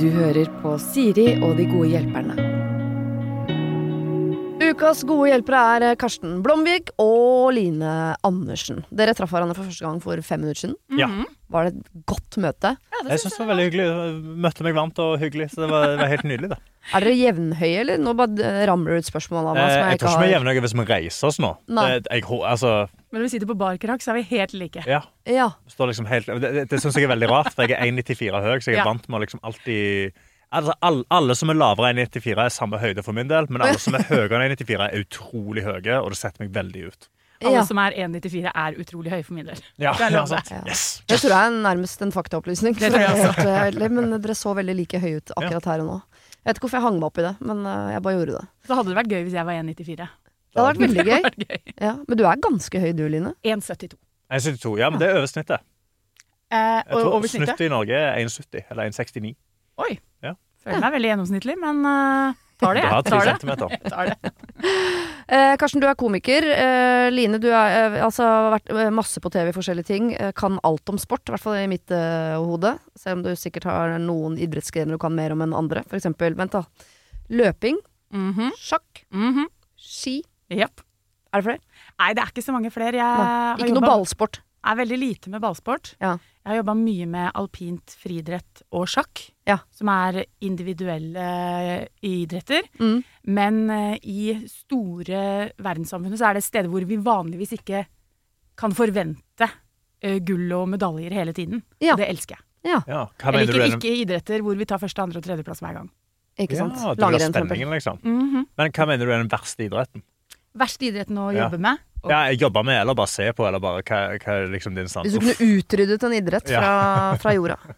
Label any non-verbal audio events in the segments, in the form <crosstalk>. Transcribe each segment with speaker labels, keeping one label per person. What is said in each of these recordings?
Speaker 1: Du hører på Siri og de gode hjelperne. Ukas gode hjelpere er eh, Karsten Blomvik og Line Andersen. Dere traff hverandre for første gang for fem minutter siden.
Speaker 2: Ja.
Speaker 3: Mhm.
Speaker 1: Var det et godt møte?
Speaker 2: Jeg syns det var veldig hyggelig. Møtte meg varmt og hyggelig, så det var, det var helt nydelig. Det.
Speaker 1: Er dere jevnhøye, eller? Nå bare eh, ramler det ut spørsmål av
Speaker 2: Eh,
Speaker 1: meg. som
Speaker 2: jeg
Speaker 1: ikke
Speaker 2: tror ikke vi er
Speaker 1: har-
Speaker 2: jevnøye hvis vi reiser oss nå.
Speaker 1: Nei.
Speaker 2: Det, jeg, hå- altså,
Speaker 3: Men når vi sitter på barkrakk, så er vi helt like.
Speaker 2: ja,
Speaker 1: Ja.
Speaker 2: står liksom helt, det det, det syns jeg er veldig rart, for jeg er 1,94 høy, så jeg er
Speaker 3: Ja.
Speaker 2: vant med å liksom alltid Altså, alle, alle som er lavere enn 1,94 er samme høyde for min del, men alle som er høyere enn 1,94 er utrolig høye, og det setter meg veldig ut.
Speaker 3: Alle
Speaker 1: ja.
Speaker 3: som er 1,94 er utrolig høye for min del.
Speaker 2: Ja,
Speaker 3: Det er lov, det.
Speaker 2: sant? Yes.
Speaker 1: Det tror jeg er nærmest en faktaopplysning.
Speaker 3: <laughs> Det tror jeg
Speaker 1: for å være <laughs> helt ærlig, Men dere så veldig like høye ut akkurat her og nå. Jeg vet ikke hvorfor jeg hang meg opp i det, men eh, jeg bare gjorde det.
Speaker 3: Så hadde det vært gøy hvis jeg var 1,94.
Speaker 1: Det hadde vært veldig
Speaker 3: Det
Speaker 1: gøy.
Speaker 3: hadde vært gøy.
Speaker 1: Ja. Men du er ganske høy du, Line.
Speaker 3: 1,72.
Speaker 2: 1,72. Ja, men det er over snittet.
Speaker 3: Eh,
Speaker 2: Jeg
Speaker 3: og
Speaker 2: tror
Speaker 3: over snittet.
Speaker 2: snittet i Norge er 1,70 eller 1,69.
Speaker 3: Oi.
Speaker 2: Ja.
Speaker 3: Føler meg veldig gjennomsnittlig, men eh, tar det.
Speaker 2: Du
Speaker 3: jeg.
Speaker 2: har tre
Speaker 3: Tar det.
Speaker 2: centimeter.
Speaker 3: Tar det.
Speaker 1: Eh, Karsten, du er komiker. Eh, Line, du har eh, altså, har vært eh, masse på TV, forskjellige ting. Eh, kan alt om sport, i hvert fall i mitt eh, hode. Selv om du sikkert har noen idrettsgrener du kan mer om enn andre. For eksempel, vent da. Løping,
Speaker 3: Mhm,
Speaker 1: sjakk,
Speaker 3: mhm.
Speaker 1: ski.
Speaker 3: Jepp.
Speaker 1: Er det flere?
Speaker 3: Nei, det er ikke så mange flere. Jeg
Speaker 1: Nei,
Speaker 3: Eh, har
Speaker 1: Ikke noe
Speaker 3: jobbet-
Speaker 1: ballsport.
Speaker 3: er veldig lite med ballsport.
Speaker 1: Ja.
Speaker 3: Jeg har jobba mye med alpint, friidrett og sjakk,
Speaker 1: Ja.
Speaker 3: som er individuelle eh, idretter.
Speaker 1: Mm.
Speaker 3: Men eh, i store verdenssamfunnet så er det steder hvor vi vanligvis ikke kan forvente eh, gull og medaljer hele tiden.
Speaker 1: Ja.
Speaker 3: Og det elsker jeg.
Speaker 2: Ja, hva
Speaker 3: Jeg
Speaker 2: mener du er
Speaker 3: liker
Speaker 2: den-
Speaker 3: ikke idretter hvor vi tar første, andre og tredjeplass hver gang.
Speaker 1: Ikke sant?
Speaker 2: Ja, du vil ha
Speaker 1: Langrenn, for eksempel.
Speaker 2: spenningen, liksom.
Speaker 3: Mhm.
Speaker 2: Men hva mener du er den verste idretten?
Speaker 3: Verste idretten å
Speaker 2: Ja.
Speaker 3: jobbe med. Og
Speaker 2: Ja, jeg jobber med, eller bare se på, eller bare hva, hva er liksom din sans?
Speaker 1: Hvis du kunne utryddet en idrett
Speaker 2: Ja.
Speaker 1: fra, fra jorda.
Speaker 2: <laughs>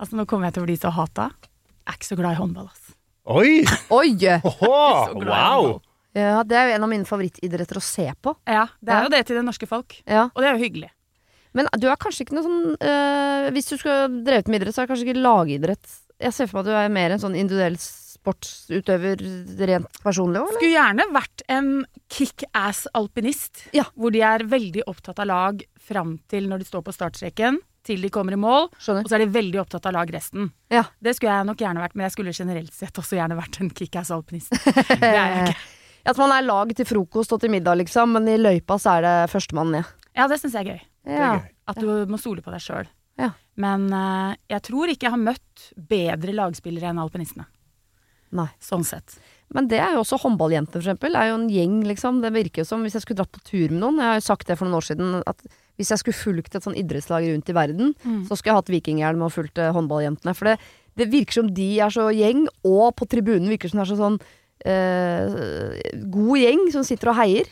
Speaker 3: altså, nå kommer jeg til å bli så hata. Jeg er ikke så glad i håndball, altså. ass.
Speaker 1: <laughs>
Speaker 2: Oi!
Speaker 1: Oi!
Speaker 2: Oho,
Speaker 3: glad i
Speaker 2: wow!
Speaker 1: Ja, det er jo en av mine favorittidretter å se på.
Speaker 3: Ja, det er
Speaker 1: Ja.
Speaker 3: jo det til det norske folk.
Speaker 1: Ja.
Speaker 3: Og det er jo hyggelig.
Speaker 1: Men du er kanskje ikke noe sånn eh, Hvis du skulle drevet med idrett, så er det kanskje ikke lagidrett. Jeg ser for meg at du er mer en sånn individuell sportsutøver rent personlig òg, eller?
Speaker 3: Skulle gjerne vært en kickass alpinist,
Speaker 1: Ja.
Speaker 3: hvor de er veldig opptatt av lag fram til når de står på startstreken, til de kommer i mål, og
Speaker 1: Skjønner.
Speaker 3: så er de veldig opptatt av lag resten.
Speaker 1: Ja.
Speaker 3: Det skulle jeg nok gjerne vært, men jeg skulle generelt sett også gjerne vært en kickass
Speaker 1: <laughs>
Speaker 3: alpinist. Det er jeg ikke.
Speaker 1: At man er lag til frokost og til middag, liksom, men i løypa så er det førstemann ned.
Speaker 3: Ja, det syns jeg er gøy.
Speaker 1: Ja.
Speaker 2: gøy.
Speaker 3: At du må stole på deg sjøl.
Speaker 1: Ja.
Speaker 3: Men eh, jeg tror ikke jeg har møtt bedre lagspillere enn alpinistene.
Speaker 1: Nei.
Speaker 3: Sånn sett.
Speaker 1: Men det er jo også håndballjenter, for eksempel. Det er jo en gjeng, liksom. Det virker jo som hvis jeg skulle dratt på tur med noen Jeg har jo sagt det for noen år siden, at hvis jeg skulle fulgt et sånn idrettslag rundt i verden,
Speaker 3: Mm.
Speaker 1: så skulle jeg hatt vikinghjelm og fulgt eh, håndballjentene. For det, det virker som de er så gjeng, og på tribunen virker som det er så sånn eh, god gjeng som sitter og heier.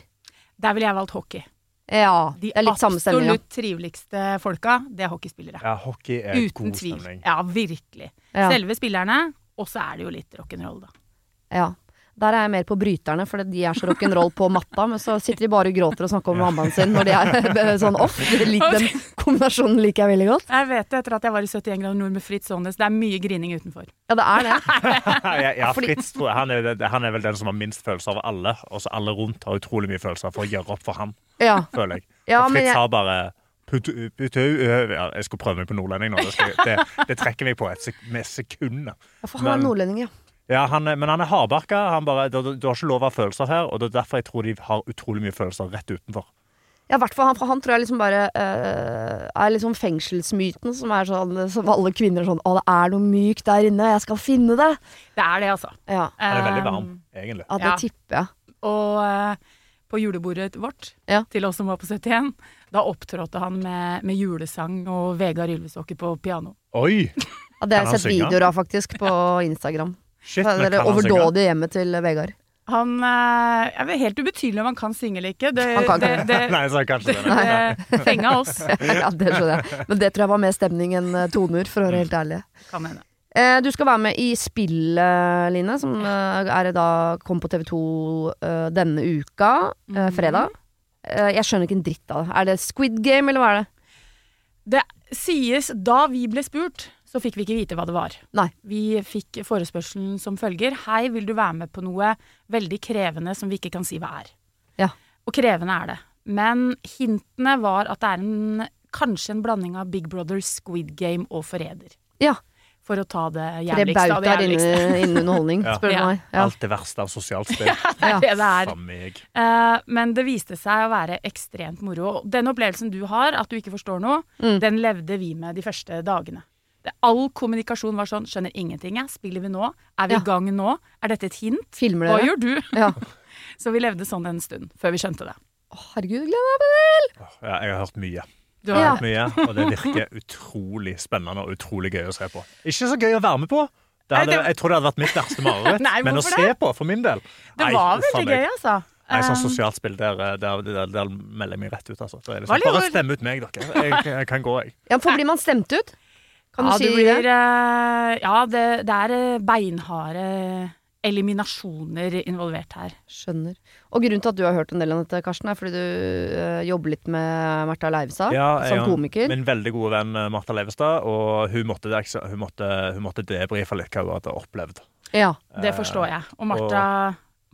Speaker 3: Der ville jeg valgt hockey.
Speaker 1: Ja,
Speaker 3: De
Speaker 1: det er litt samme stemning. ja.
Speaker 3: absolutt triveligste folka, det er hockeyspillere.
Speaker 2: Ja, hockey er
Speaker 3: Uten
Speaker 2: god
Speaker 3: tvil.
Speaker 2: stemning.
Speaker 3: Ja, virkelig.
Speaker 1: Ja.
Speaker 3: Selve spillerne, og så er det jo litt rock'n'roll, da.
Speaker 1: Ja. Der er jeg mer på bryterne, for de er så rock'n'roll på matta, men så sitter de bare og gråter og snakker om mammaen sin når de er <laughs> sånn off. Det
Speaker 3: <laughs>
Speaker 1: lik- Den kombinasjonen liker jeg veldig godt.
Speaker 3: Jeg vet det etter at jeg var i 71 grader nord med Fritz Aanes. Det er mye grining utenfor.
Speaker 1: Ja, det er det. <laughs>
Speaker 2: ja, ja,
Speaker 1: Fordi-
Speaker 2: Fritz tror jeg, han er, det- han er vel den som har minst følelser av alle, og så alle rundt har utrolig mye følelser for å gjøre opp for ham,
Speaker 1: Ja.
Speaker 2: føler jeg.
Speaker 1: Ja,
Speaker 2: og
Speaker 1: men
Speaker 2: Fritz
Speaker 1: jeg,
Speaker 2: har bare put, put, ja, Jeg skulle prøve meg på nordlending nå, det, skal, det, det trekker meg på et sek med sekundet.
Speaker 1: ja, for han er
Speaker 2: men-
Speaker 1: nordlending, ja.
Speaker 2: Ja, han, er- men han er hardbarka. Han bare, du, du- du har ikke lov av følelser her, og det er derfor jeg tror de har utrolig mye følelser rett utenfor.
Speaker 1: Ja, hvertfall han, for han tror jeg liksom bare eh, er liksom fengselsmyten som er sånn som alle kvinner er sånn Å, det er noe mykt der inne, jeg skal finne det.
Speaker 3: Det er det, altså.
Speaker 1: Ja,
Speaker 2: Han er veldig
Speaker 3: Um,
Speaker 2: varm, egentlig.
Speaker 1: ja det
Speaker 3: Ja.
Speaker 1: tipper jeg.
Speaker 3: Og eh, på julebordet vårt,
Speaker 1: Ja.
Speaker 3: til oss som var på 71, da opptrådte han med, med julesang og Vegard Ylvesåker på piano.
Speaker 2: Oi!
Speaker 1: Ja, det har
Speaker 2: Kan
Speaker 1: jeg
Speaker 2: han
Speaker 1: sett
Speaker 2: synge?
Speaker 1: videoer av faktisk på Instagram.
Speaker 2: Shit,
Speaker 1: Det
Speaker 2: men
Speaker 1: er det
Speaker 2: kan altså han synge?
Speaker 1: overdådige hjemmet til Vegard.
Speaker 3: Han eh, er vel helt ubetydelig om han kan synge eller ikke. Det,
Speaker 1: Han kan
Speaker 3: det,
Speaker 1: ikke.
Speaker 3: det,
Speaker 2: <laughs> Nei, så er det kanskje det. <laughs> Nei.
Speaker 3: det fenga <laughs> oss,
Speaker 1: ja, det skjønner jeg. Men det tror jeg var mer stemning enn eh, toner, for å
Speaker 2: Mm.
Speaker 1: være helt ærlig.
Speaker 3: kan hende.
Speaker 1: Eh, Du skal være med i Spillet, Line, som eh, er da kom på TV 2 denne uka,
Speaker 3: Mhm.
Speaker 1: eh, fredag. Eh, Jeg skjønner ikke en dritt av det. Er det Squid Game, eller hva er det?
Speaker 3: Det sies da vi ble spurt, så fikk vi ikke vite hva det var.
Speaker 1: Nei.
Speaker 3: Vi fikk forespørselen som følger. Hei, vil du være med på noe veldig krevende som vi ikke kan si hva er?
Speaker 1: Ja.
Speaker 3: Og krevende er det. Men hintene var at det er en, kanskje en blanding av Big Brother, Squid Game og Forræder.
Speaker 1: Ja,
Speaker 3: For å ta det
Speaker 1: Tre
Speaker 3: jævligste av det
Speaker 1: bautaer <laughs>
Speaker 3: jævligste.
Speaker 1: innen, innen underholdning,
Speaker 2: Ja.
Speaker 1: spør du
Speaker 3: Ja.
Speaker 1: meg. Ja.
Speaker 2: Alt det verste av sosialt spill.
Speaker 3: <laughs> Det er det det er.
Speaker 2: Faen meg.
Speaker 3: Eh, men det viste seg å være ekstremt moro. Og Den opplevelsen du har, at du ikke forstår noe,
Speaker 1: Mm.
Speaker 3: den levde vi med de første dagene. Det, all kommunikasjon var sånn 'skjønner ingenting, jeg. Spiller vi nå? Er vi
Speaker 1: Ja.
Speaker 3: i gang nå? Er dette et hint?
Speaker 1: Filmer
Speaker 3: Hva
Speaker 1: dere?
Speaker 3: gjør du?
Speaker 1: Ja.
Speaker 3: <laughs> Så vi levde sånn en stund, før vi skjønte det.
Speaker 1: Å, Herregud, gleder meg til det!
Speaker 2: Ja, jeg har hørt mye.
Speaker 3: Du
Speaker 2: Jeg
Speaker 3: har
Speaker 1: Ja.
Speaker 2: har hørt mye, Og det virker utrolig spennende og utrolig gøy å se på. Ikke så gøy å være med på. Det
Speaker 3: Nei,
Speaker 2: hadde,
Speaker 3: det-
Speaker 2: jeg tror det hadde vært mitt verste mareritt,
Speaker 3: <laughs> Nei,
Speaker 2: men å
Speaker 3: hvorfor
Speaker 2: se
Speaker 3: det?
Speaker 2: på, for min del
Speaker 3: Det var veldig gøy, altså.
Speaker 2: Nei, sånn
Speaker 3: Eh,
Speaker 2: sosialt spill, der, eh, der, der, der melder jeg meg rett ut, altså. Det er
Speaker 3: Hva
Speaker 2: liksom,
Speaker 3: lever-
Speaker 2: bare stemme ut meg, dere. Jeg, jeg kan gå, jeg.
Speaker 1: Ja, for blir man stemt ut? Kan du
Speaker 3: ja,
Speaker 1: si
Speaker 3: det blir,
Speaker 1: det?
Speaker 3: eh, ja, det, det er eh, beinharde eliminasjoner involvert her.
Speaker 1: Skjønner. Og grunnen til at du har hørt en del om dette, Karsten, er fordi du eh, jobber litt med Märtha Leivestad
Speaker 2: Ja, jeg
Speaker 1: som
Speaker 2: og
Speaker 1: komiker.
Speaker 2: Min veldig gode venn eh, Martha Leivestad, og hun måtte, hun måtte, hun måtte debrife litt hva hun hadde opplevd.
Speaker 1: Ja.
Speaker 3: Det forstår jeg. Eh, Og Martha,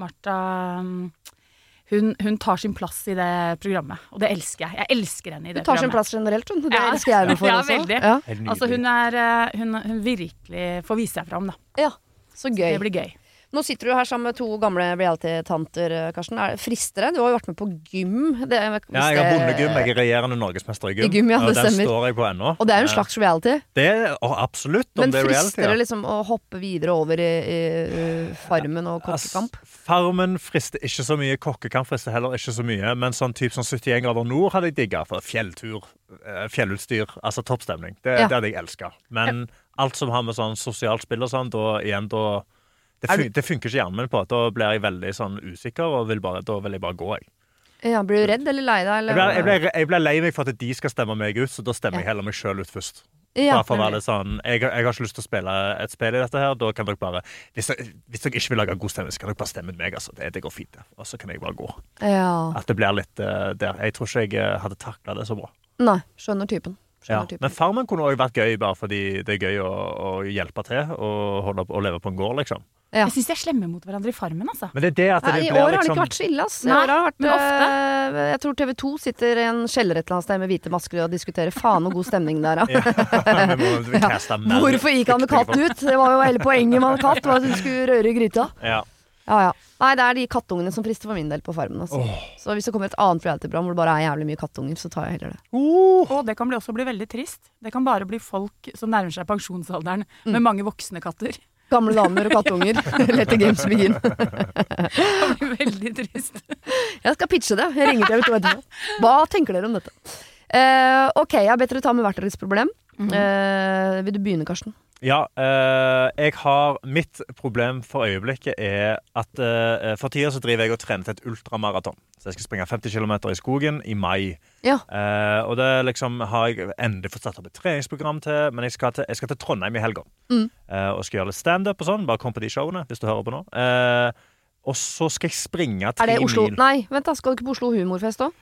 Speaker 3: Martha mm, hun, hun tar sin plass i det programmet, og det elsker jeg. Jeg elsker henne i
Speaker 1: Hun
Speaker 3: det
Speaker 1: tar sin
Speaker 3: programmet.
Speaker 1: plass generelt, hun. Det
Speaker 3: Ja.
Speaker 1: elsker jeg henne for
Speaker 3: Ja,
Speaker 1: også.
Speaker 3: veldig.
Speaker 1: Ja.
Speaker 2: Helt
Speaker 3: Altså,
Speaker 2: nydelig.
Speaker 3: hun, er, eh, hun, hun virkelig får vise seg fram, da.
Speaker 1: ja. Så gøy.
Speaker 3: Det blir gøy.
Speaker 1: Nå sitter du her sammen med to gamle reality-tanter, eh, Karsten. Er det frister det? Du har jo vært med på gym. Det,
Speaker 2: Ja, jeg har bondegym. Jeg er regjerende norgesmester i gym.
Speaker 1: I gym, ja, det
Speaker 2: og den
Speaker 1: stemmer.
Speaker 2: står jeg på ennå.
Speaker 1: Og det er jo en
Speaker 2: Eh,
Speaker 1: slags reality.
Speaker 2: Det er å, absolutt. Om
Speaker 1: Men
Speaker 2: det er
Speaker 1: frister
Speaker 2: reality,
Speaker 1: det
Speaker 2: ja.
Speaker 1: liksom å hoppe videre over i, i eh, Farmen og Kokkekamp?
Speaker 2: Ass, Farmen frister ikke så mye. Kokkekamp frister heller ikke så mye. Men sånn typ sånn 71 grader nord hadde jeg digga. For fjelltur, eh, fjellutstyr, altså toppstemning. Det,
Speaker 1: Ja.
Speaker 2: det hadde jeg elska. Men alt som har med sånn sosialt spill og sånn, da igjen, da det,
Speaker 1: Er
Speaker 2: fun det funker ikke hjernen min på. Da blir jeg veldig sånn usikker, og vil bare, da vil jeg bare gå, jeg.
Speaker 1: Ja, blir du redd eller lei deg? Eller?
Speaker 2: Jeg ble, jeg, ble, jeg ble lei meg for at de skal stemme meg ut, så da stemmer jeg heller meg sjøl ut først.
Speaker 1: Ja,
Speaker 2: Bare for å være litt sånn jeg, jeg har ikke lyst til å spille et spill i dette her. Da kan dere bare Hvis dere, hvis dere ikke vil lage god stemning, så kan dere bare stemme ut meg, altså. Det, det går fint, det. Og så kan jeg bare gå.
Speaker 1: Ja.
Speaker 2: At det blir litt eh, der. Jeg tror ikke jeg eh, hadde takla det så bra.
Speaker 1: Nei, skjønner typen.
Speaker 2: Ja.
Speaker 1: Skjønner
Speaker 2: Men
Speaker 1: typen.
Speaker 2: Farmen kunne òg vært gøy, bare fordi det er gøy å, å hjelpe til og holde opp, å leve på en gård, liksom.
Speaker 1: Ja.
Speaker 3: Jeg syns de er slemme mot hverandre i Farmen, altså.
Speaker 2: Men det er det at
Speaker 1: Nei,
Speaker 2: det
Speaker 1: I år
Speaker 2: blir
Speaker 1: har det
Speaker 2: liksom
Speaker 1: ikke vært så ille, ass. I
Speaker 3: Nei,
Speaker 1: år har det vært,
Speaker 3: men
Speaker 1: eh, jeg tror TV 2 sitter i en kjeller et eller annet sted med hvite masker og diskuterer faen hvor god stemning det er. da.
Speaker 2: Ja, <laughs> vi må- vi caster mer
Speaker 1: Hvorfor gikk han med
Speaker 2: dyktige
Speaker 1: katt
Speaker 2: folk.
Speaker 1: ut? Det var jo hele poenget med katt, var at hun skulle røre i gryta.
Speaker 2: Ja.
Speaker 1: Ja, ja. Nei, det er de kattungene som frister for min del på Farmen. Altså. Så hvis det kommer et annet reality-program hvor det bare er jævlig mye kattunger, så tar jeg heller det.
Speaker 3: Og det kan bli, også bli veldig trist. Det kan bare bli folk som nærmer seg pensjonsalderen med mange voksne katter. <laughs>
Speaker 1: Gamle damer og kattunger.
Speaker 2: <laughs>
Speaker 1: <laughs> Let the games begin.
Speaker 3: Det blir veldig trist.
Speaker 1: Jeg skal pitche det. Jeg ringer TV 2 etterpå. Hva tenker dere om dette? Eh, ok, jeg ber dere ta med hvert deres problem. Eh, vil du begynne, Karsten?
Speaker 2: Ja, eh, jeg har Mitt problem for øyeblikket er at eh, for tida så driver jeg og trener til et ultramaraton. Så jeg skal springe 50 km i skogen i mai.
Speaker 1: Ja.
Speaker 2: Eh, og det liksom har jeg endelig fått satt opp et treningsprogram til, men jeg skal til, jeg skal til Trondheim i helga.
Speaker 1: Mm.
Speaker 2: Eh, og skal gjøre litt standup og sånn. Bare kom på de showene hvis du hører på nå. Eh, og så skal jeg springe
Speaker 1: Er
Speaker 2: tre
Speaker 1: det Oslo
Speaker 2: mil.
Speaker 1: Nei, vent da, skal du ikke på Oslo Humorfest òg?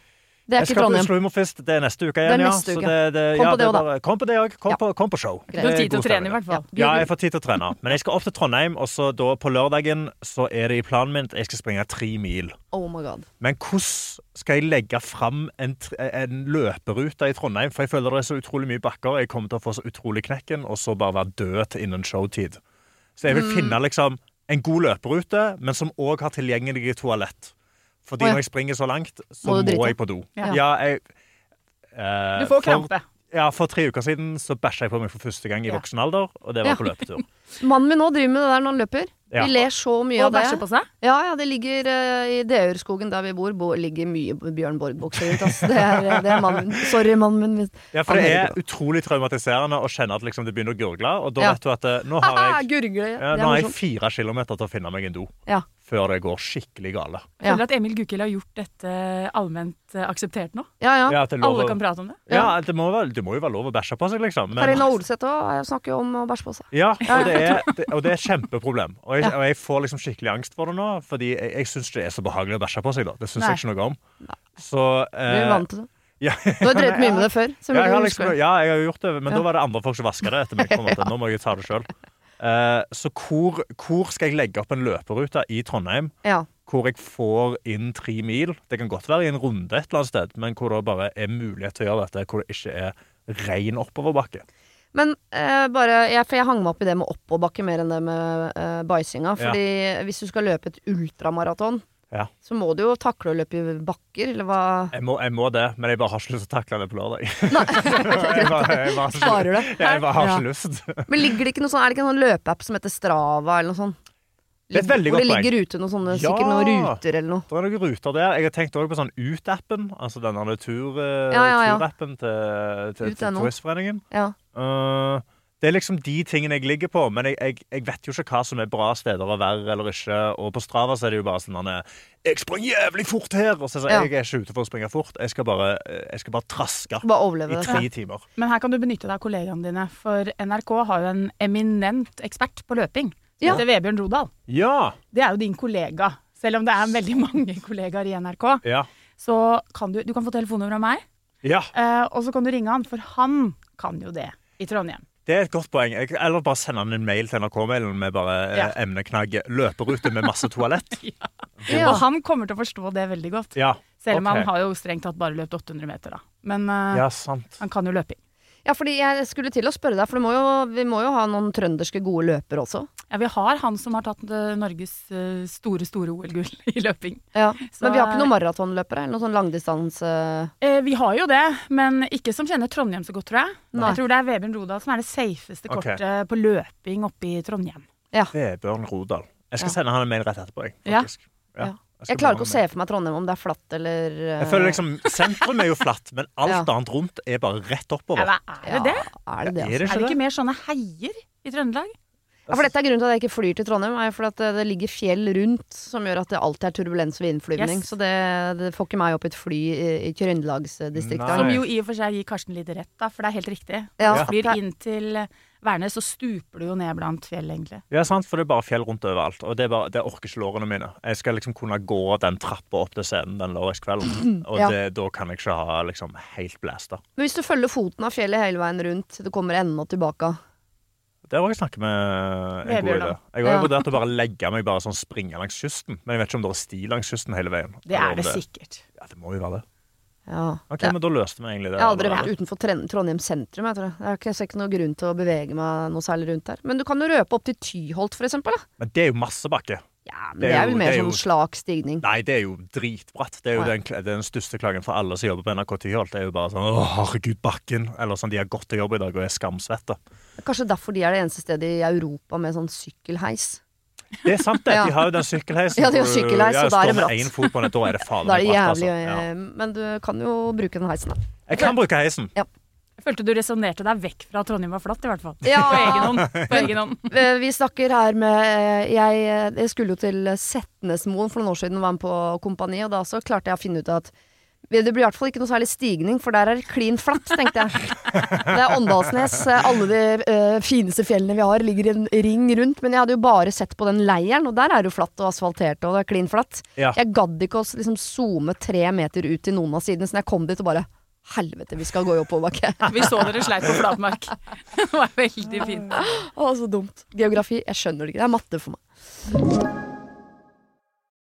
Speaker 1: Det er
Speaker 2: Jeg
Speaker 1: ikke
Speaker 2: skal på
Speaker 1: Trondheim.
Speaker 2: Oslo Humorfest. Det er neste uke
Speaker 1: er
Speaker 2: igjen, ja.
Speaker 1: neste
Speaker 2: Så
Speaker 1: uke.
Speaker 2: det- det-
Speaker 1: Kom
Speaker 2: ja,
Speaker 1: på det
Speaker 2: er
Speaker 1: også, da.
Speaker 2: bare- Kom på det òg. Kom,
Speaker 1: Ja.
Speaker 2: på- kom på show.
Speaker 1: Du
Speaker 3: Du har
Speaker 2: Det er
Speaker 3: tid til
Speaker 2: god
Speaker 3: å trene,
Speaker 2: stemning.
Speaker 3: i hvert fall.
Speaker 2: Ja, jeg får tid til å trene. Men jeg skal opp til Trondheim, og så da på lørdagen så er det i planen min at jeg skal springe tre mil.
Speaker 1: Oh my god.
Speaker 2: Men hvordan skal jeg legge fram en, tr- en løperute i Trondheim? For jeg føler det er så utrolig mye bakker. Jeg kommer til å få så utrolig knekken, og så bare være død til innen showtid. Så jeg vil finne liksom en god løperute, men som òg har tilgjengelig toalett.
Speaker 1: Å,
Speaker 2: Fordi
Speaker 1: ja.
Speaker 2: når jeg springer så langt, så
Speaker 1: Må
Speaker 2: må,
Speaker 1: du drite?
Speaker 2: jeg på do.
Speaker 3: Ja.
Speaker 2: Ja, jeg... eh,
Speaker 3: Du får
Speaker 2: for-
Speaker 3: krampe.
Speaker 2: ja, For tre uker siden så bæsja jeg på meg for første gang i
Speaker 3: Ja.
Speaker 2: voksen alder, og det var
Speaker 1: Ja.
Speaker 2: på løpetur.
Speaker 1: Mannen min nå driver med det der når han løper.
Speaker 2: Ja.
Speaker 1: Vi ler så mye
Speaker 3: Og
Speaker 1: av det.
Speaker 3: bæsje på seg.
Speaker 1: Ja, ja, det ligger eh, i Deørskogen der vi bor, bo, ligger mye Bjørn Borg-bukser rundt. ass. Det er, eh, det er mannen min. Sorry, mannen min. hvis-
Speaker 2: Ja, for
Speaker 1: Han
Speaker 2: det
Speaker 1: hører
Speaker 2: er utrolig traumatiserende å kjenne at liksom det begynner å gurgle, og da
Speaker 1: Ja.
Speaker 2: vet du at eh, nå
Speaker 1: på.
Speaker 2: har
Speaker 1: Ah,
Speaker 2: jeg,
Speaker 1: gurgle.
Speaker 2: ja,
Speaker 1: Det er
Speaker 2: nå har jeg
Speaker 1: morsomt.
Speaker 2: fire kilometer til å finne meg en do.
Speaker 1: Ja.
Speaker 2: før det går skikkelig gale.
Speaker 3: Jeg føler at Emil Gukild har gjort dette allment eh, akseptert nå.
Speaker 1: Ja, ja.
Speaker 2: Ja, at det er lov
Speaker 3: Alle
Speaker 2: å-
Speaker 3: kan prate om det.
Speaker 2: Ja, det må, vel, det må jo være lov å bæsje på seg, liksom. men-
Speaker 1: Karina Olseth òg snakker jo om å bæsje på seg.
Speaker 2: Ja, og det er, det, og det er et kjempeproblem. Og jeg, og jeg får liksom skikkelig angst for det nå, fordi jeg, jeg syns det er så behagelig å bæsje på seg. da. Det syns
Speaker 3: Nei.
Speaker 2: jeg ikke noe om. Så
Speaker 1: Du er
Speaker 2: eh,
Speaker 1: vant til det.
Speaker 2: ja,
Speaker 1: Du har drevet mye med det før. Så
Speaker 2: <laughs> ja, jeg har
Speaker 1: mulig du
Speaker 2: liksom,
Speaker 1: husker det.
Speaker 2: ja, jeg har gjort det, men da var det andre folk som vaska det etter meg. på en måte. Nå må jeg ta det sjøl. Eh, så hvor, hvor skal jeg legge opp en løperute i Trondheim
Speaker 1: Ja.
Speaker 2: hvor jeg får inn tre mil? Det kan godt være i en runde et eller annet sted, men hvor det bare er mulighet til å gjøre dette, hvor det ikke er rein oppoverbakke.
Speaker 1: Men eh, bare, jeg, for jeg hang meg opp i det med oppoverbakke mer enn det med eh, bæsjinga. Fordi hvis du skal løpe et ultramaraton,
Speaker 2: Ja.
Speaker 1: så må du jo takle å løpe i bakker, eller hva
Speaker 2: Jeg må, jeg må det, men jeg bare har ikke lyst til å takle det på lørdag. <laughs> jeg bare, jeg bare, har
Speaker 1: Sparer det.
Speaker 2: ikke- <laughs> jeg bare har ikke lyst.
Speaker 1: Men ligger det ikke noe sånn, er det ikke en sånn løpeapp som heter Strava, eller noe sånt?
Speaker 2: Det er et veldig
Speaker 1: Hvor det
Speaker 2: godt
Speaker 1: ligger ute noen sånne,
Speaker 2: Ja!
Speaker 1: sikkert noen ruter eller noe.
Speaker 2: Det er noen ruter der. Jeg har tenkt også på sånn Ut-appen, altså denne eh, tur-appen
Speaker 1: Ja, ja, ja.
Speaker 2: til, til, til
Speaker 1: Ut.no.
Speaker 2: Turistforeningen.
Speaker 1: Ja.
Speaker 2: Eh, det er liksom de tingene jeg ligger på, men jeg, jeg, jeg vet jo ikke hva som er bra steder å være eller ikke. Og på Strava så er det jo bare sånn han er, 'Jeg springer jævlig fort her!' Og så, så,
Speaker 1: Ja.
Speaker 2: jeg er ikke ute for å springe fort. Jeg skal bare, jeg skal bare traske
Speaker 1: Bare
Speaker 2: i
Speaker 1: overleve det.
Speaker 2: tre timer.
Speaker 3: Men her kan du benytte deg av kollegaene dine, for NRK har jo en eminent ekspert på løping. Som
Speaker 1: Ja.
Speaker 3: heter Vebjørn Rodal.
Speaker 2: Ja!
Speaker 3: Det er jo din kollega. Selv om det er veldig <laughs> mange kollegaer i NRK,
Speaker 2: Ja.
Speaker 3: så kan du, du kan få telefonnummer av meg,
Speaker 2: ja.
Speaker 3: eh, og så kan du ringe han, for han kan jo det i Trondheim.
Speaker 2: Det er et godt poeng. Jeg- Eller bare sende han en mail til NRK-mailen med bare eh,
Speaker 3: Ja.
Speaker 2: emneknagg 'løperute med masse toalett'.
Speaker 1: Ja.
Speaker 3: Og han kommer til å forstå det veldig
Speaker 2: <laughs>
Speaker 3: godt.
Speaker 2: Ja,
Speaker 3: Selv om
Speaker 2: ok.
Speaker 3: han har jo strengt tatt bare løpt 800 meter, da. Men eh,
Speaker 2: ja sant.
Speaker 3: han kan jo løping.
Speaker 1: Ja, fordi jeg skulle til å spørre deg, for det må jo, vi må jo ha noen trønderske gode løpere også.
Speaker 3: Ja, vi har han som har tatt eh, Norges eh, store, store OL-gull <laughs> i løping.
Speaker 1: Ja.
Speaker 3: Så-
Speaker 1: Men vi har ikke noen maratonløpere, eller noen sånn langdistanse...
Speaker 3: Eh, vi har jo det, men ikke som kjenner Trondheim så godt, tror jeg.
Speaker 1: Nei.
Speaker 3: Jeg tror det er Vebjørn Rodal som er det safeste
Speaker 2: Ok.
Speaker 3: kortet på løping oppe i Trondheim.
Speaker 2: Vebjørn Rodal. Jeg skal
Speaker 1: Ja.
Speaker 2: sende han en mail rett etterpå. Jeg,
Speaker 3: Ja.
Speaker 2: faktisk. Ja.
Speaker 1: Ja.
Speaker 2: skal
Speaker 1: Jeg klarer
Speaker 2: bare
Speaker 1: ikke å
Speaker 2: ha en
Speaker 1: se for meg Trondheim om det er flatt eller eh,
Speaker 2: mail. Jeg føler liksom, Sentrum er jo flatt,
Speaker 1: <laughs>
Speaker 2: men alt
Speaker 1: Ja.
Speaker 2: annet rundt er bare rett
Speaker 3: Ja,
Speaker 2: oppover.
Speaker 3: hva er det det?
Speaker 1: Er det det, altså?
Speaker 2: Er det
Speaker 3: Er det
Speaker 2: ikke
Speaker 3: ikke
Speaker 2: det?
Speaker 3: mer sånne heier i Trøndelag?
Speaker 1: Ja, for dette er grunnen til at jeg ikke flyr til Trondheim, er jo fordi at eh, det, det ligger fjell rundt som gjør at det alltid er turbulens ved innflyvning.
Speaker 3: Yes.
Speaker 1: Så det, det får ikke meg opp i et fly i, i
Speaker 2: Nei.
Speaker 1: Trøndelagsdistriktet.
Speaker 3: Som jo i og for seg gir Karsten litt rett, da, for det er helt riktig.
Speaker 1: Ja.
Speaker 3: Når du flyr inn til Værnes, så stuper du jo ned blant fjell, egentlig.
Speaker 2: Ja, sant, for det er bare fjell rundt overalt. Og det, er bare, det orker ikke lårene mine. Jeg skal liksom kunne gå den trappa opp til scenen den
Speaker 1: <clears throat>
Speaker 2: lørdagskvelden, og
Speaker 1: Ja.
Speaker 2: det, da kan jeg ikke ha liksom helt blæsta.
Speaker 1: Men hvis du følger foten av fjellet hele veien rundt, du kommer enden og tilbake.
Speaker 2: Det var jeg snakket med en god
Speaker 3: Vebjørn,
Speaker 2: idé.
Speaker 3: da.
Speaker 2: Jeg har
Speaker 1: Ja.
Speaker 2: jo vurdert å bare legge meg bare sånn springe langs kysten. Men jeg vet ikke om det er sti langs kysten hele veien.
Speaker 3: Det
Speaker 2: Eller
Speaker 3: er
Speaker 2: om
Speaker 3: det sikkert.
Speaker 2: Ja, det må jo være det.
Speaker 1: Ja.
Speaker 2: Ok,
Speaker 1: Det-
Speaker 2: men da løste vi egentlig det.
Speaker 1: jeg har aldri
Speaker 2: allerede.
Speaker 1: vært utenfor Tren- Trondheim sentrum. Jeg, tror jeg. jeg har ikke, jeg ser ikke noen grunn til å bevege meg noe særlig rundt der. Men du kan jo røpe opp til Tyholt, for eksempel. Da.
Speaker 2: Men det er jo masse bakke.
Speaker 1: Ja, men
Speaker 2: Det
Speaker 1: det
Speaker 2: er
Speaker 1: er
Speaker 2: jo-
Speaker 1: vel mer
Speaker 2: det er
Speaker 1: sånn
Speaker 2: jo-
Speaker 1: slak stigning.
Speaker 2: Nei, det er jo dritbratt. Det er jo
Speaker 1: Nei.
Speaker 2: den, kl- den største klagen for alle som jobber på NRK Tyholt. Det er jo bare sånn 'Å, herregud, bakken'. Eller sånn 'De har gått til jobb i dag og er skamsvette'.
Speaker 1: Kanskje derfor de er det eneste stedet i Europa med sånn sykkelheis.
Speaker 2: Det er sant,
Speaker 1: <laughs>
Speaker 2: det.
Speaker 1: Ja.
Speaker 2: De har jo den sykkelheisen.
Speaker 1: Ja, de har
Speaker 2: hvor du-
Speaker 1: sykkelheis,
Speaker 2: ja,
Speaker 1: og da er det
Speaker 2: står med
Speaker 1: bratt.
Speaker 2: én fot på den, da er det
Speaker 1: <laughs>
Speaker 2: fader
Speaker 1: Da er
Speaker 2: meg
Speaker 1: det
Speaker 2: bratt,
Speaker 1: jævlig,
Speaker 2: altså. Ja.
Speaker 1: eh, men du kan jo bruke den heisen, da.
Speaker 2: Jeg kan bruke heisen.
Speaker 3: Jeg følte du resonnerte deg vekk fra at Trondheim var flatt, i hvert fall.
Speaker 1: Ja.
Speaker 3: På egen hånd. På egen hånd.
Speaker 1: <laughs> Eh, Vi snakker her med eh, Jeg, jeg skulle jo til Setnesmoen for noen år siden og var med på kompani, og da så klarte jeg å finne ut at det blir i hvert fall ikke noe særlig stigning, for der er det klin flatt, tenkte jeg. Det er Åndalsnes. Alle de eh, fineste fjellene vi har, ligger i en ring rundt. Men jeg hadde jo bare sett på den leiren, og der er det jo flatt og asfaltert og det er klin flatt.
Speaker 2: Ja.
Speaker 1: Jeg gadd ikke å s- liksom zoome tre meter ut til noen av sidene, så når jeg kom dit og bare Helvete, vi skal gå i oppoverbakke.
Speaker 3: Vi så dere sleit på flatmark. <laughs> Det var veldig fint.
Speaker 1: Å, så dumt. Geografi, jeg skjønner det ikke. Det er matte for meg.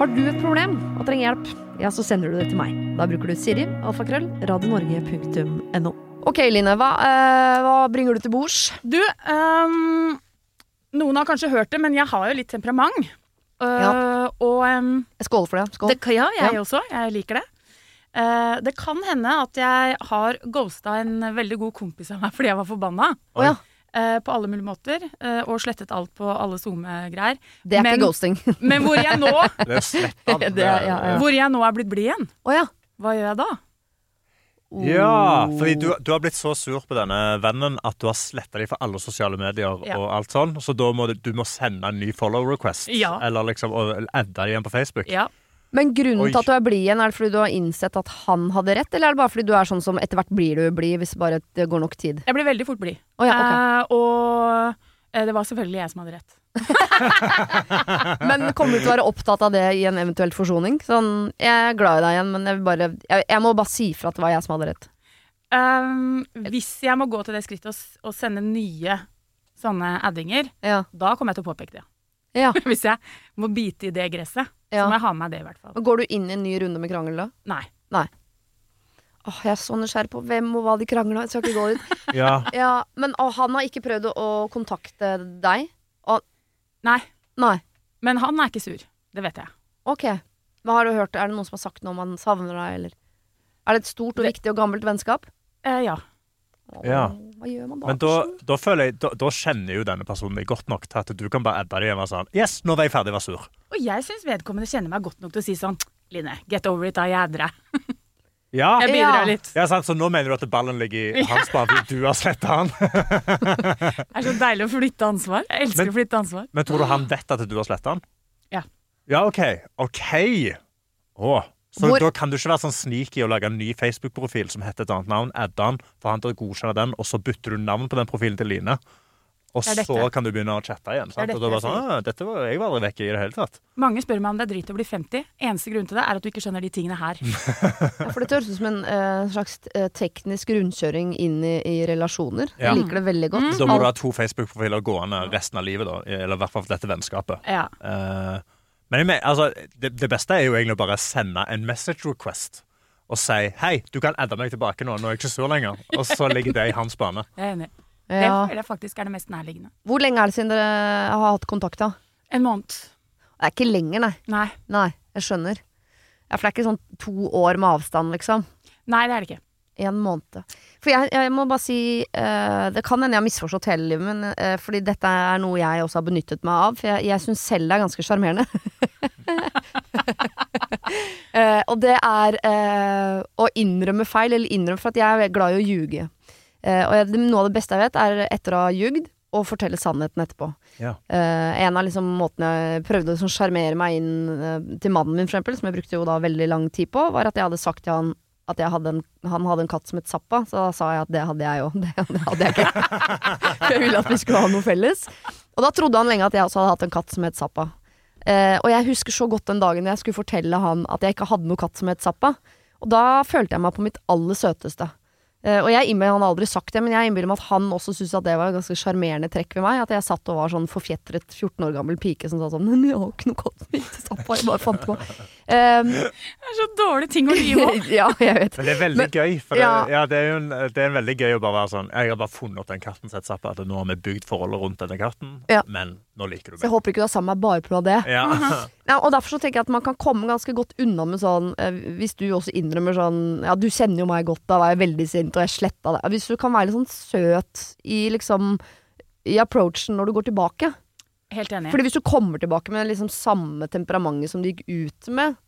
Speaker 1: Har du et problem og trenger hjelp, ja, så sender du det til meg. Da bruker du Siri, alfakrøll, radionorge.no. Ok, Line, hva, eh, hva bringer du til bords?
Speaker 3: Du, ehm, noen har kanskje hørt det, men jeg har jo litt temperament. Eh, Og ehm,
Speaker 1: Jeg skåler for det. Skål.
Speaker 3: det kan, ja, jeg
Speaker 1: Ja.
Speaker 3: også. Jeg liker det. Eh, det kan hende at jeg har ghosta en veldig god kompis av meg fordi jeg var forbanna.
Speaker 1: Å ja,
Speaker 3: eh, på alle mulige måter. eh, og slettet alt på alle SoMe-greier.
Speaker 1: det er
Speaker 3: Men-
Speaker 1: ikke ghosting. <laughs>
Speaker 3: Men hvor jeg, nå,
Speaker 2: Det er sletta.
Speaker 1: Det er- ja, ja.
Speaker 3: hvor jeg nå er blitt blid igjen,
Speaker 1: Å ja.
Speaker 3: hva gjør jeg da?
Speaker 2: Ja, fordi du, du har blitt så sur på denne vennen at du har sletta dem fra alle sosiale medier.
Speaker 3: Ja.
Speaker 2: og alt sånn, Så da må du, du må sende en ny follow request.
Speaker 3: Ja.
Speaker 2: Eller liksom og adde dem igjen på Facebook.
Speaker 3: Ja.
Speaker 1: Men grunnen
Speaker 2: Oi.
Speaker 1: til at du er blid igjen, er det fordi du har innsett at han hadde rett, eller er det bare fordi du er sånn som etter hvert blir du blid hvis bare det går nok tid?
Speaker 3: Jeg ble veldig fort blid.
Speaker 1: Å ja, ok.
Speaker 3: Eh, og eh, det var selvfølgelig jeg som hadde rett.
Speaker 1: <laughs> Men kommer du til å være opptatt av det i en eventuell forsoning? Sånn, jeg er glad i deg igjen, men jeg, vil bare, jeg, jeg må bare si fra at det var jeg som hadde rett.
Speaker 3: Um, hvis jeg må gå til det skrittet og, s- og sende nye sånne addinger,
Speaker 1: Ja.
Speaker 3: da kommer jeg til å påpeke det.
Speaker 1: ja.
Speaker 3: <laughs> Hvis jeg må bite i det gresset,
Speaker 1: Ja.
Speaker 3: så må jeg ha med meg det i hvert fall.
Speaker 1: Og Går du inn i en ny runde med krangel da?
Speaker 3: Nei.
Speaker 1: Nei. Åh, jeg er så nysgjerrig på hvem og hva de krangla om. Jeg skal ikke gå dit.
Speaker 2: Ja.
Speaker 1: Ja, men åh, han har ikke prøvd å, å kontakte deg?
Speaker 3: Nei.
Speaker 1: Nei.
Speaker 3: Men han er ikke sur. Det vet jeg.
Speaker 1: Ok. Hva har du hørt? Er det noen som har sagt noe om han savner deg, eller? Er det et stort og viktig og gammelt vennskap?
Speaker 3: Eh, ja.
Speaker 1: Åh,
Speaker 2: Ja.
Speaker 1: Hva gjør man da?
Speaker 2: Men da, da føler jeg, da, da kjenner jo denne personen deg godt nok til at du kan bare adde dem igjen og sånn Yes, nå var jeg ferdig, vær sur.
Speaker 3: Og jeg syns vedkommende kjenner meg godt nok til å si sånn Line, get over it, da. Jeg adder deg.
Speaker 2: Ja.
Speaker 3: Jeg bidrar
Speaker 1: Ja.
Speaker 3: litt.
Speaker 2: ja, sant, Så nå mener du at ballen ligger i hans bane fordi du har sletta han? <laughs>
Speaker 3: Det er så deilig å flytte ansvar. Jeg elsker
Speaker 2: Men-
Speaker 3: å flytte ansvar.
Speaker 2: Men tror du han vet at du har sletta han?
Speaker 3: Ja.
Speaker 2: Ja, OK. OK. Å. Så
Speaker 1: Hvor-
Speaker 2: da kan du ikke være sånn sneaky og lage en ny Facebook-profil som heter et annet navn, adde han, få han til å godkjenne den, og så bytter du navn på den profilen til Line. Og
Speaker 3: Det er dette.
Speaker 2: så kan du begynne å chatte igjen. Sant?
Speaker 3: Det er
Speaker 2: og da bare
Speaker 3: dette jeg
Speaker 2: sånn, «Å, dette var, Jeg var aldri vekke i det hele tatt.
Speaker 3: Mange spør meg om det er drit å bli 50. Eneste grunn til det er at du ikke skjønner de tingene her.
Speaker 1: Ja, for det høres ut som en eh, slags eh, teknisk rundkjøring inn i, i relasjoner.
Speaker 2: Ja. Mm.
Speaker 1: Jeg liker det veldig godt.
Speaker 2: Da må du ha to Facebook-profiler gående resten av livet, da. Eller i hvert fall for dette vennskapet.
Speaker 3: Ja.
Speaker 2: Eh, men jeg mener, altså, det, det beste er jo egentlig å bare sende en message request og si 'hei, du kan adde meg tilbake nå, nå er jeg ikke sur lenger'. Og så ligger det i hans bane.
Speaker 3: Jeg er enig. Det
Speaker 1: Ja.
Speaker 3: føler jeg faktisk er det mest nærliggende.
Speaker 1: Hvor lenge er det siden dere har hatt kontakt, da?
Speaker 3: En måned.
Speaker 1: Det er ikke lenger, nei.
Speaker 3: Nei.
Speaker 1: Nei, jeg skjønner. Ja, for det er ikke sånn to år med avstand, liksom.
Speaker 3: Nei, det er det ikke.
Speaker 1: En måned. For jeg, jeg må bare si eh, Det kan hende jeg har misforstått hele livet, men eh, fordi dette er noe jeg også har benyttet meg av. For jeg, jeg syns selv det er ganske sjarmerende. <laughs> Eh, og det er eh, å innrømme feil, eller innrømme for at jeg er glad i å ljuge. Eh, og jeg, det- noe av det beste jeg vet, er etter å ha ljugd, å fortelle sannheten etterpå.
Speaker 2: Ja.
Speaker 1: Eh, en av liksom måtene jeg prøvde å liksom sjarmere meg inn eh, til mannen min, for eksempel, som jeg brukte jo da veldig lang tid på, var at jeg hadde sagt til han at jeg hadde en, han hadde en katt som het Zappa, så da sa jeg at det hadde jeg òg. Det, <laughs> det hadde jeg ikke. <laughs> For jeg ville at vi skulle ha noe felles. Og da trodde han lenge at jeg også hadde hatt en katt som het Zappa. Eh, og jeg husker så godt den dagen jeg skulle fortelle han at jeg ikke hadde noe katt som het Zappa. Og da følte jeg meg på mitt aller søteste. Eh, og jeg innbiller, Han har aldri sagt det, men jeg innbiller meg at han også syntes at det var et ganske sjarmerende trekk ved meg. At jeg satt og var sånn forfjetret 14 år gammel pike som sa sånn Men jeg har ikke noe kosmisk til Zappa, jeg bare fant på. Eh,
Speaker 3: Det er så dårlige ting å lyve om.
Speaker 1: <laughs> ja, jeg vet.
Speaker 2: Men det er veldig
Speaker 1: Men-
Speaker 2: gøy. For det,
Speaker 1: Ja.
Speaker 2: ja. det, er jo en, det er en veldig gøy å bare være sånn Jeg har bare funnet opp den katten sitt zappa. At nå har vi bygd forholdet rundt denne katten,
Speaker 1: Ja.
Speaker 2: men nå liker
Speaker 1: Så
Speaker 2: du
Speaker 1: Mhm. jeg
Speaker 2: meg.
Speaker 1: håper ikke du er sammen med meg bare pga. det.
Speaker 2: Ja.
Speaker 1: Ja, og Derfor så tenker jeg at man kan komme ganske godt unna med sånn eh, Hvis du også innrømmer sånn Ja, du kjenner jo meg godt, da var jeg veldig sint, og jeg sletta det. Hvis du kan være litt sånn søt i liksom i approachen når du går tilbake.
Speaker 3: Helt enig.
Speaker 1: Fordi hvis du kommer tilbake med liksom samme temperamentet som du gikk ut med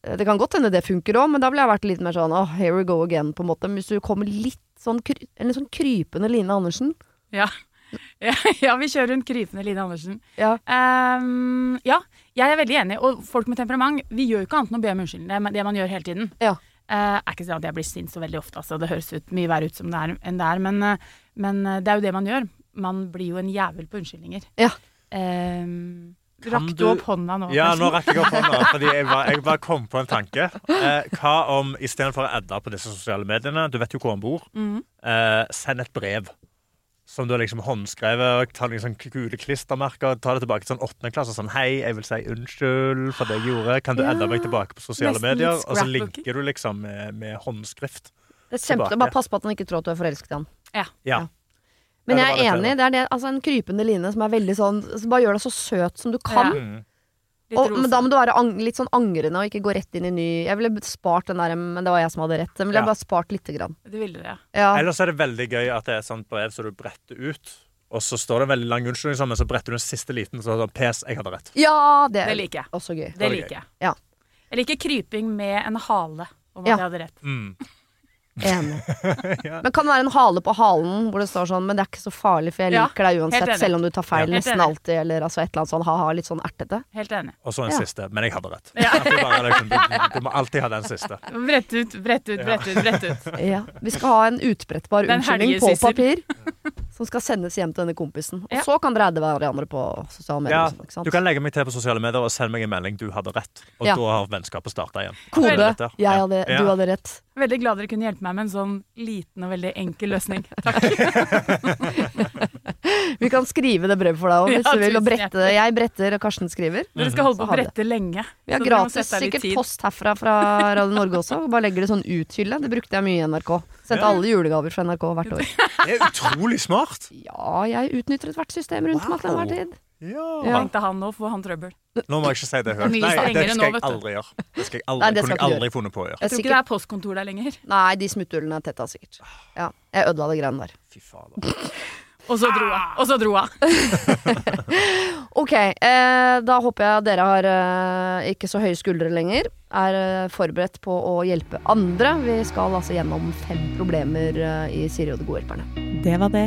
Speaker 1: eh, Det kan godt hende det funker òg, men da ville jeg vært litt mer sånn oh, here we go again, på en måte. Men hvis du kommer litt sånn, kry en litt sånn krypende Line Andersen
Speaker 3: Ja. <laughs> ja, vi kjører rundt krypende Line Andersen.
Speaker 1: Ja.
Speaker 3: Ehm, ja, jeg er veldig enig. Og folk med temperament, vi gjør jo ikke annet enn å be om unnskyldning. Det er det man gjør hele tiden.
Speaker 1: Ja.
Speaker 3: Eh, er ikke sånn at jeg blir sint så veldig ofte, altså. Det høres ut, mye verre ut som det er, enn det er. Men, eh, men eh, det er jo det man gjør. Man blir jo en jævel på unnskyldninger.
Speaker 1: Ja.
Speaker 3: Ehm,
Speaker 2: Kan
Speaker 3: rakk du
Speaker 2: du-
Speaker 3: opp hånda nå?
Speaker 2: ja,
Speaker 3: Karsten?
Speaker 2: nå rakk jeg opp hånda, fordi jeg bare, jeg bare kom på en tanke. Eh, hva om istedenfor å adde på disse sosiale mediene, du vet jo hvor han bor, eh, send et brev. Som du har liksom håndskrevet og tar liksom gule klistremerker og tar det tilbake til sånn åttende klasse. Sånn, hei, jeg vil si unnskyld for det jeg gjorde. Kan du
Speaker 3: Ja,
Speaker 2: adde meg tilbake på sosiale
Speaker 3: nesten litt
Speaker 2: medier? Og så
Speaker 3: scrapbooking.
Speaker 2: linker du liksom med, med håndskrift.
Speaker 1: Det er kjempe,
Speaker 2: Tilbake.
Speaker 1: Bare pass på at han ikke tror at du er forelsket i han.
Speaker 3: Ja.
Speaker 2: Ja.
Speaker 1: Men
Speaker 2: Ja, det
Speaker 1: jeg er
Speaker 2: var
Speaker 1: enig.
Speaker 2: det
Speaker 1: Det er det, altså en krypende line som er veldig sånn som Bare gjør deg så søt som du kan.
Speaker 2: Mm.
Speaker 3: Litt
Speaker 1: Og, men da
Speaker 3: rosa.
Speaker 1: må du være ang litt sånn angrende og ikke gå rett inn i ny Jeg ville spart den der, men det var jeg som hadde rett. Den ville jeg
Speaker 2: Ja.
Speaker 1: bare spart lite grann.
Speaker 3: Det ville dere, ja.
Speaker 1: Ja.
Speaker 2: Ellers er det veldig gøy at det er et sånt brev som du bretter ut, og så står det en veldig lang unnskyldning sammen, så bretter du den siste liten, så er det sånn PS, jeg hadde rett.
Speaker 1: ja, det
Speaker 3: Det
Speaker 1: er
Speaker 3: liker jeg.
Speaker 1: også gøy.
Speaker 3: Det
Speaker 2: var
Speaker 3: liker
Speaker 2: gøy.
Speaker 3: jeg.
Speaker 1: Ja.
Speaker 3: Jeg liker kryping med en hale, om at
Speaker 1: Ja.
Speaker 3: jeg hadde rett.
Speaker 2: Mm. <laughs>
Speaker 1: Enig. Men kan det være en hale på halen hvor det står sånn Men det er ikke så farlig, for jeg
Speaker 3: Ja,
Speaker 1: liker deg
Speaker 3: helt
Speaker 1: uansett,
Speaker 3: enig.
Speaker 1: selv om du tar feil
Speaker 3: Ja. Helt
Speaker 1: nesten
Speaker 3: enig.
Speaker 1: alltid, eller altså et eller annet sånn ha-ha, litt sånn ertete.
Speaker 3: Helt enig.
Speaker 2: Og så en
Speaker 1: Ja.
Speaker 2: siste, men jeg hadde rett.
Speaker 3: Ja.
Speaker 2: At det bare er liksom, du, du må alltid ha
Speaker 1: <laughs>
Speaker 2: den siste.
Speaker 3: Brett ut, brett ut, brett ut. brett ut.
Speaker 1: Ja. Vi skal ha en utbrettbar
Speaker 3: Den
Speaker 1: unnskyldning på
Speaker 3: helgesysser. <laughs>
Speaker 1: papir som skal sendes hjem til denne kompisen. Og
Speaker 3: Ja.
Speaker 1: så kan dere adde hverandre på sosiale medier.
Speaker 2: Ja,
Speaker 1: og sånn, ikke sant?
Speaker 2: du kan legge meg til på sosiale medier og sende meg en melding du hadde rett. Og
Speaker 1: Ja.
Speaker 2: da har vennskapet starta igjen.
Speaker 1: Kode.
Speaker 2: Dette.
Speaker 1: Jeg hadde,
Speaker 2: Ja.
Speaker 1: Du hadde rett.
Speaker 3: Veldig glad dere kunne hjelpe meg med en sånn liten og veldig enkel løsning. Takk.
Speaker 1: Vi kan skrive det brevet for deg òg, hvis
Speaker 3: <laughs> Ja,
Speaker 1: du vil. Og
Speaker 3: tusen
Speaker 1: brette det. Jeg bretter, og Karsten skriver.
Speaker 3: Dere skal holde på
Speaker 1: Så
Speaker 3: å
Speaker 1: ha det.
Speaker 3: brette lenge.
Speaker 1: Vi har
Speaker 3: så dere må
Speaker 1: gratis
Speaker 3: sette av litt
Speaker 1: sikkert
Speaker 3: tid.
Speaker 1: post herfra fra Radio Norge også. og Bare legger det sånn uthylle. Det brukte jeg mye i NRK. Sendte
Speaker 2: Ja.
Speaker 1: alle julegaver fra NRK hvert
Speaker 3: <laughs>
Speaker 1: år.
Speaker 2: Det er utrolig smart!
Speaker 1: Ja, jeg utnytter ethvert system rundt meg til enhver tid.
Speaker 2: Ja.
Speaker 1: Ja.
Speaker 3: Tenkte han nå, får han trøbbel.
Speaker 2: Nå må jeg ikke si det høyt.
Speaker 3: Mye
Speaker 2: Nei, det
Speaker 3: strengere nå,
Speaker 2: skal jeg
Speaker 3: vet du.
Speaker 2: aldri gjøre. Det skal jeg aldri,
Speaker 1: Nei, det skal
Speaker 2: kunne jeg
Speaker 1: ikke du
Speaker 2: aldri funnet på å gjøre.
Speaker 1: Jeg
Speaker 3: Tror ikke det
Speaker 1: sikkert,
Speaker 3: er postkontor der lenger.
Speaker 1: nei, de smutthullene er tetta sikkert. Ja, jeg ødela de greiene der.
Speaker 2: Fy fader.
Speaker 3: Og så dro
Speaker 1: Ah!
Speaker 3: han. Og så dro han.
Speaker 1: Ok, eh, da håper jeg dere har eh, ikke så høye skuldre lenger. Er eh, forberedt på å hjelpe andre. Vi skal altså gjennom fem problemer eh, i Siri og de gode hjelperne.
Speaker 4: Det var det.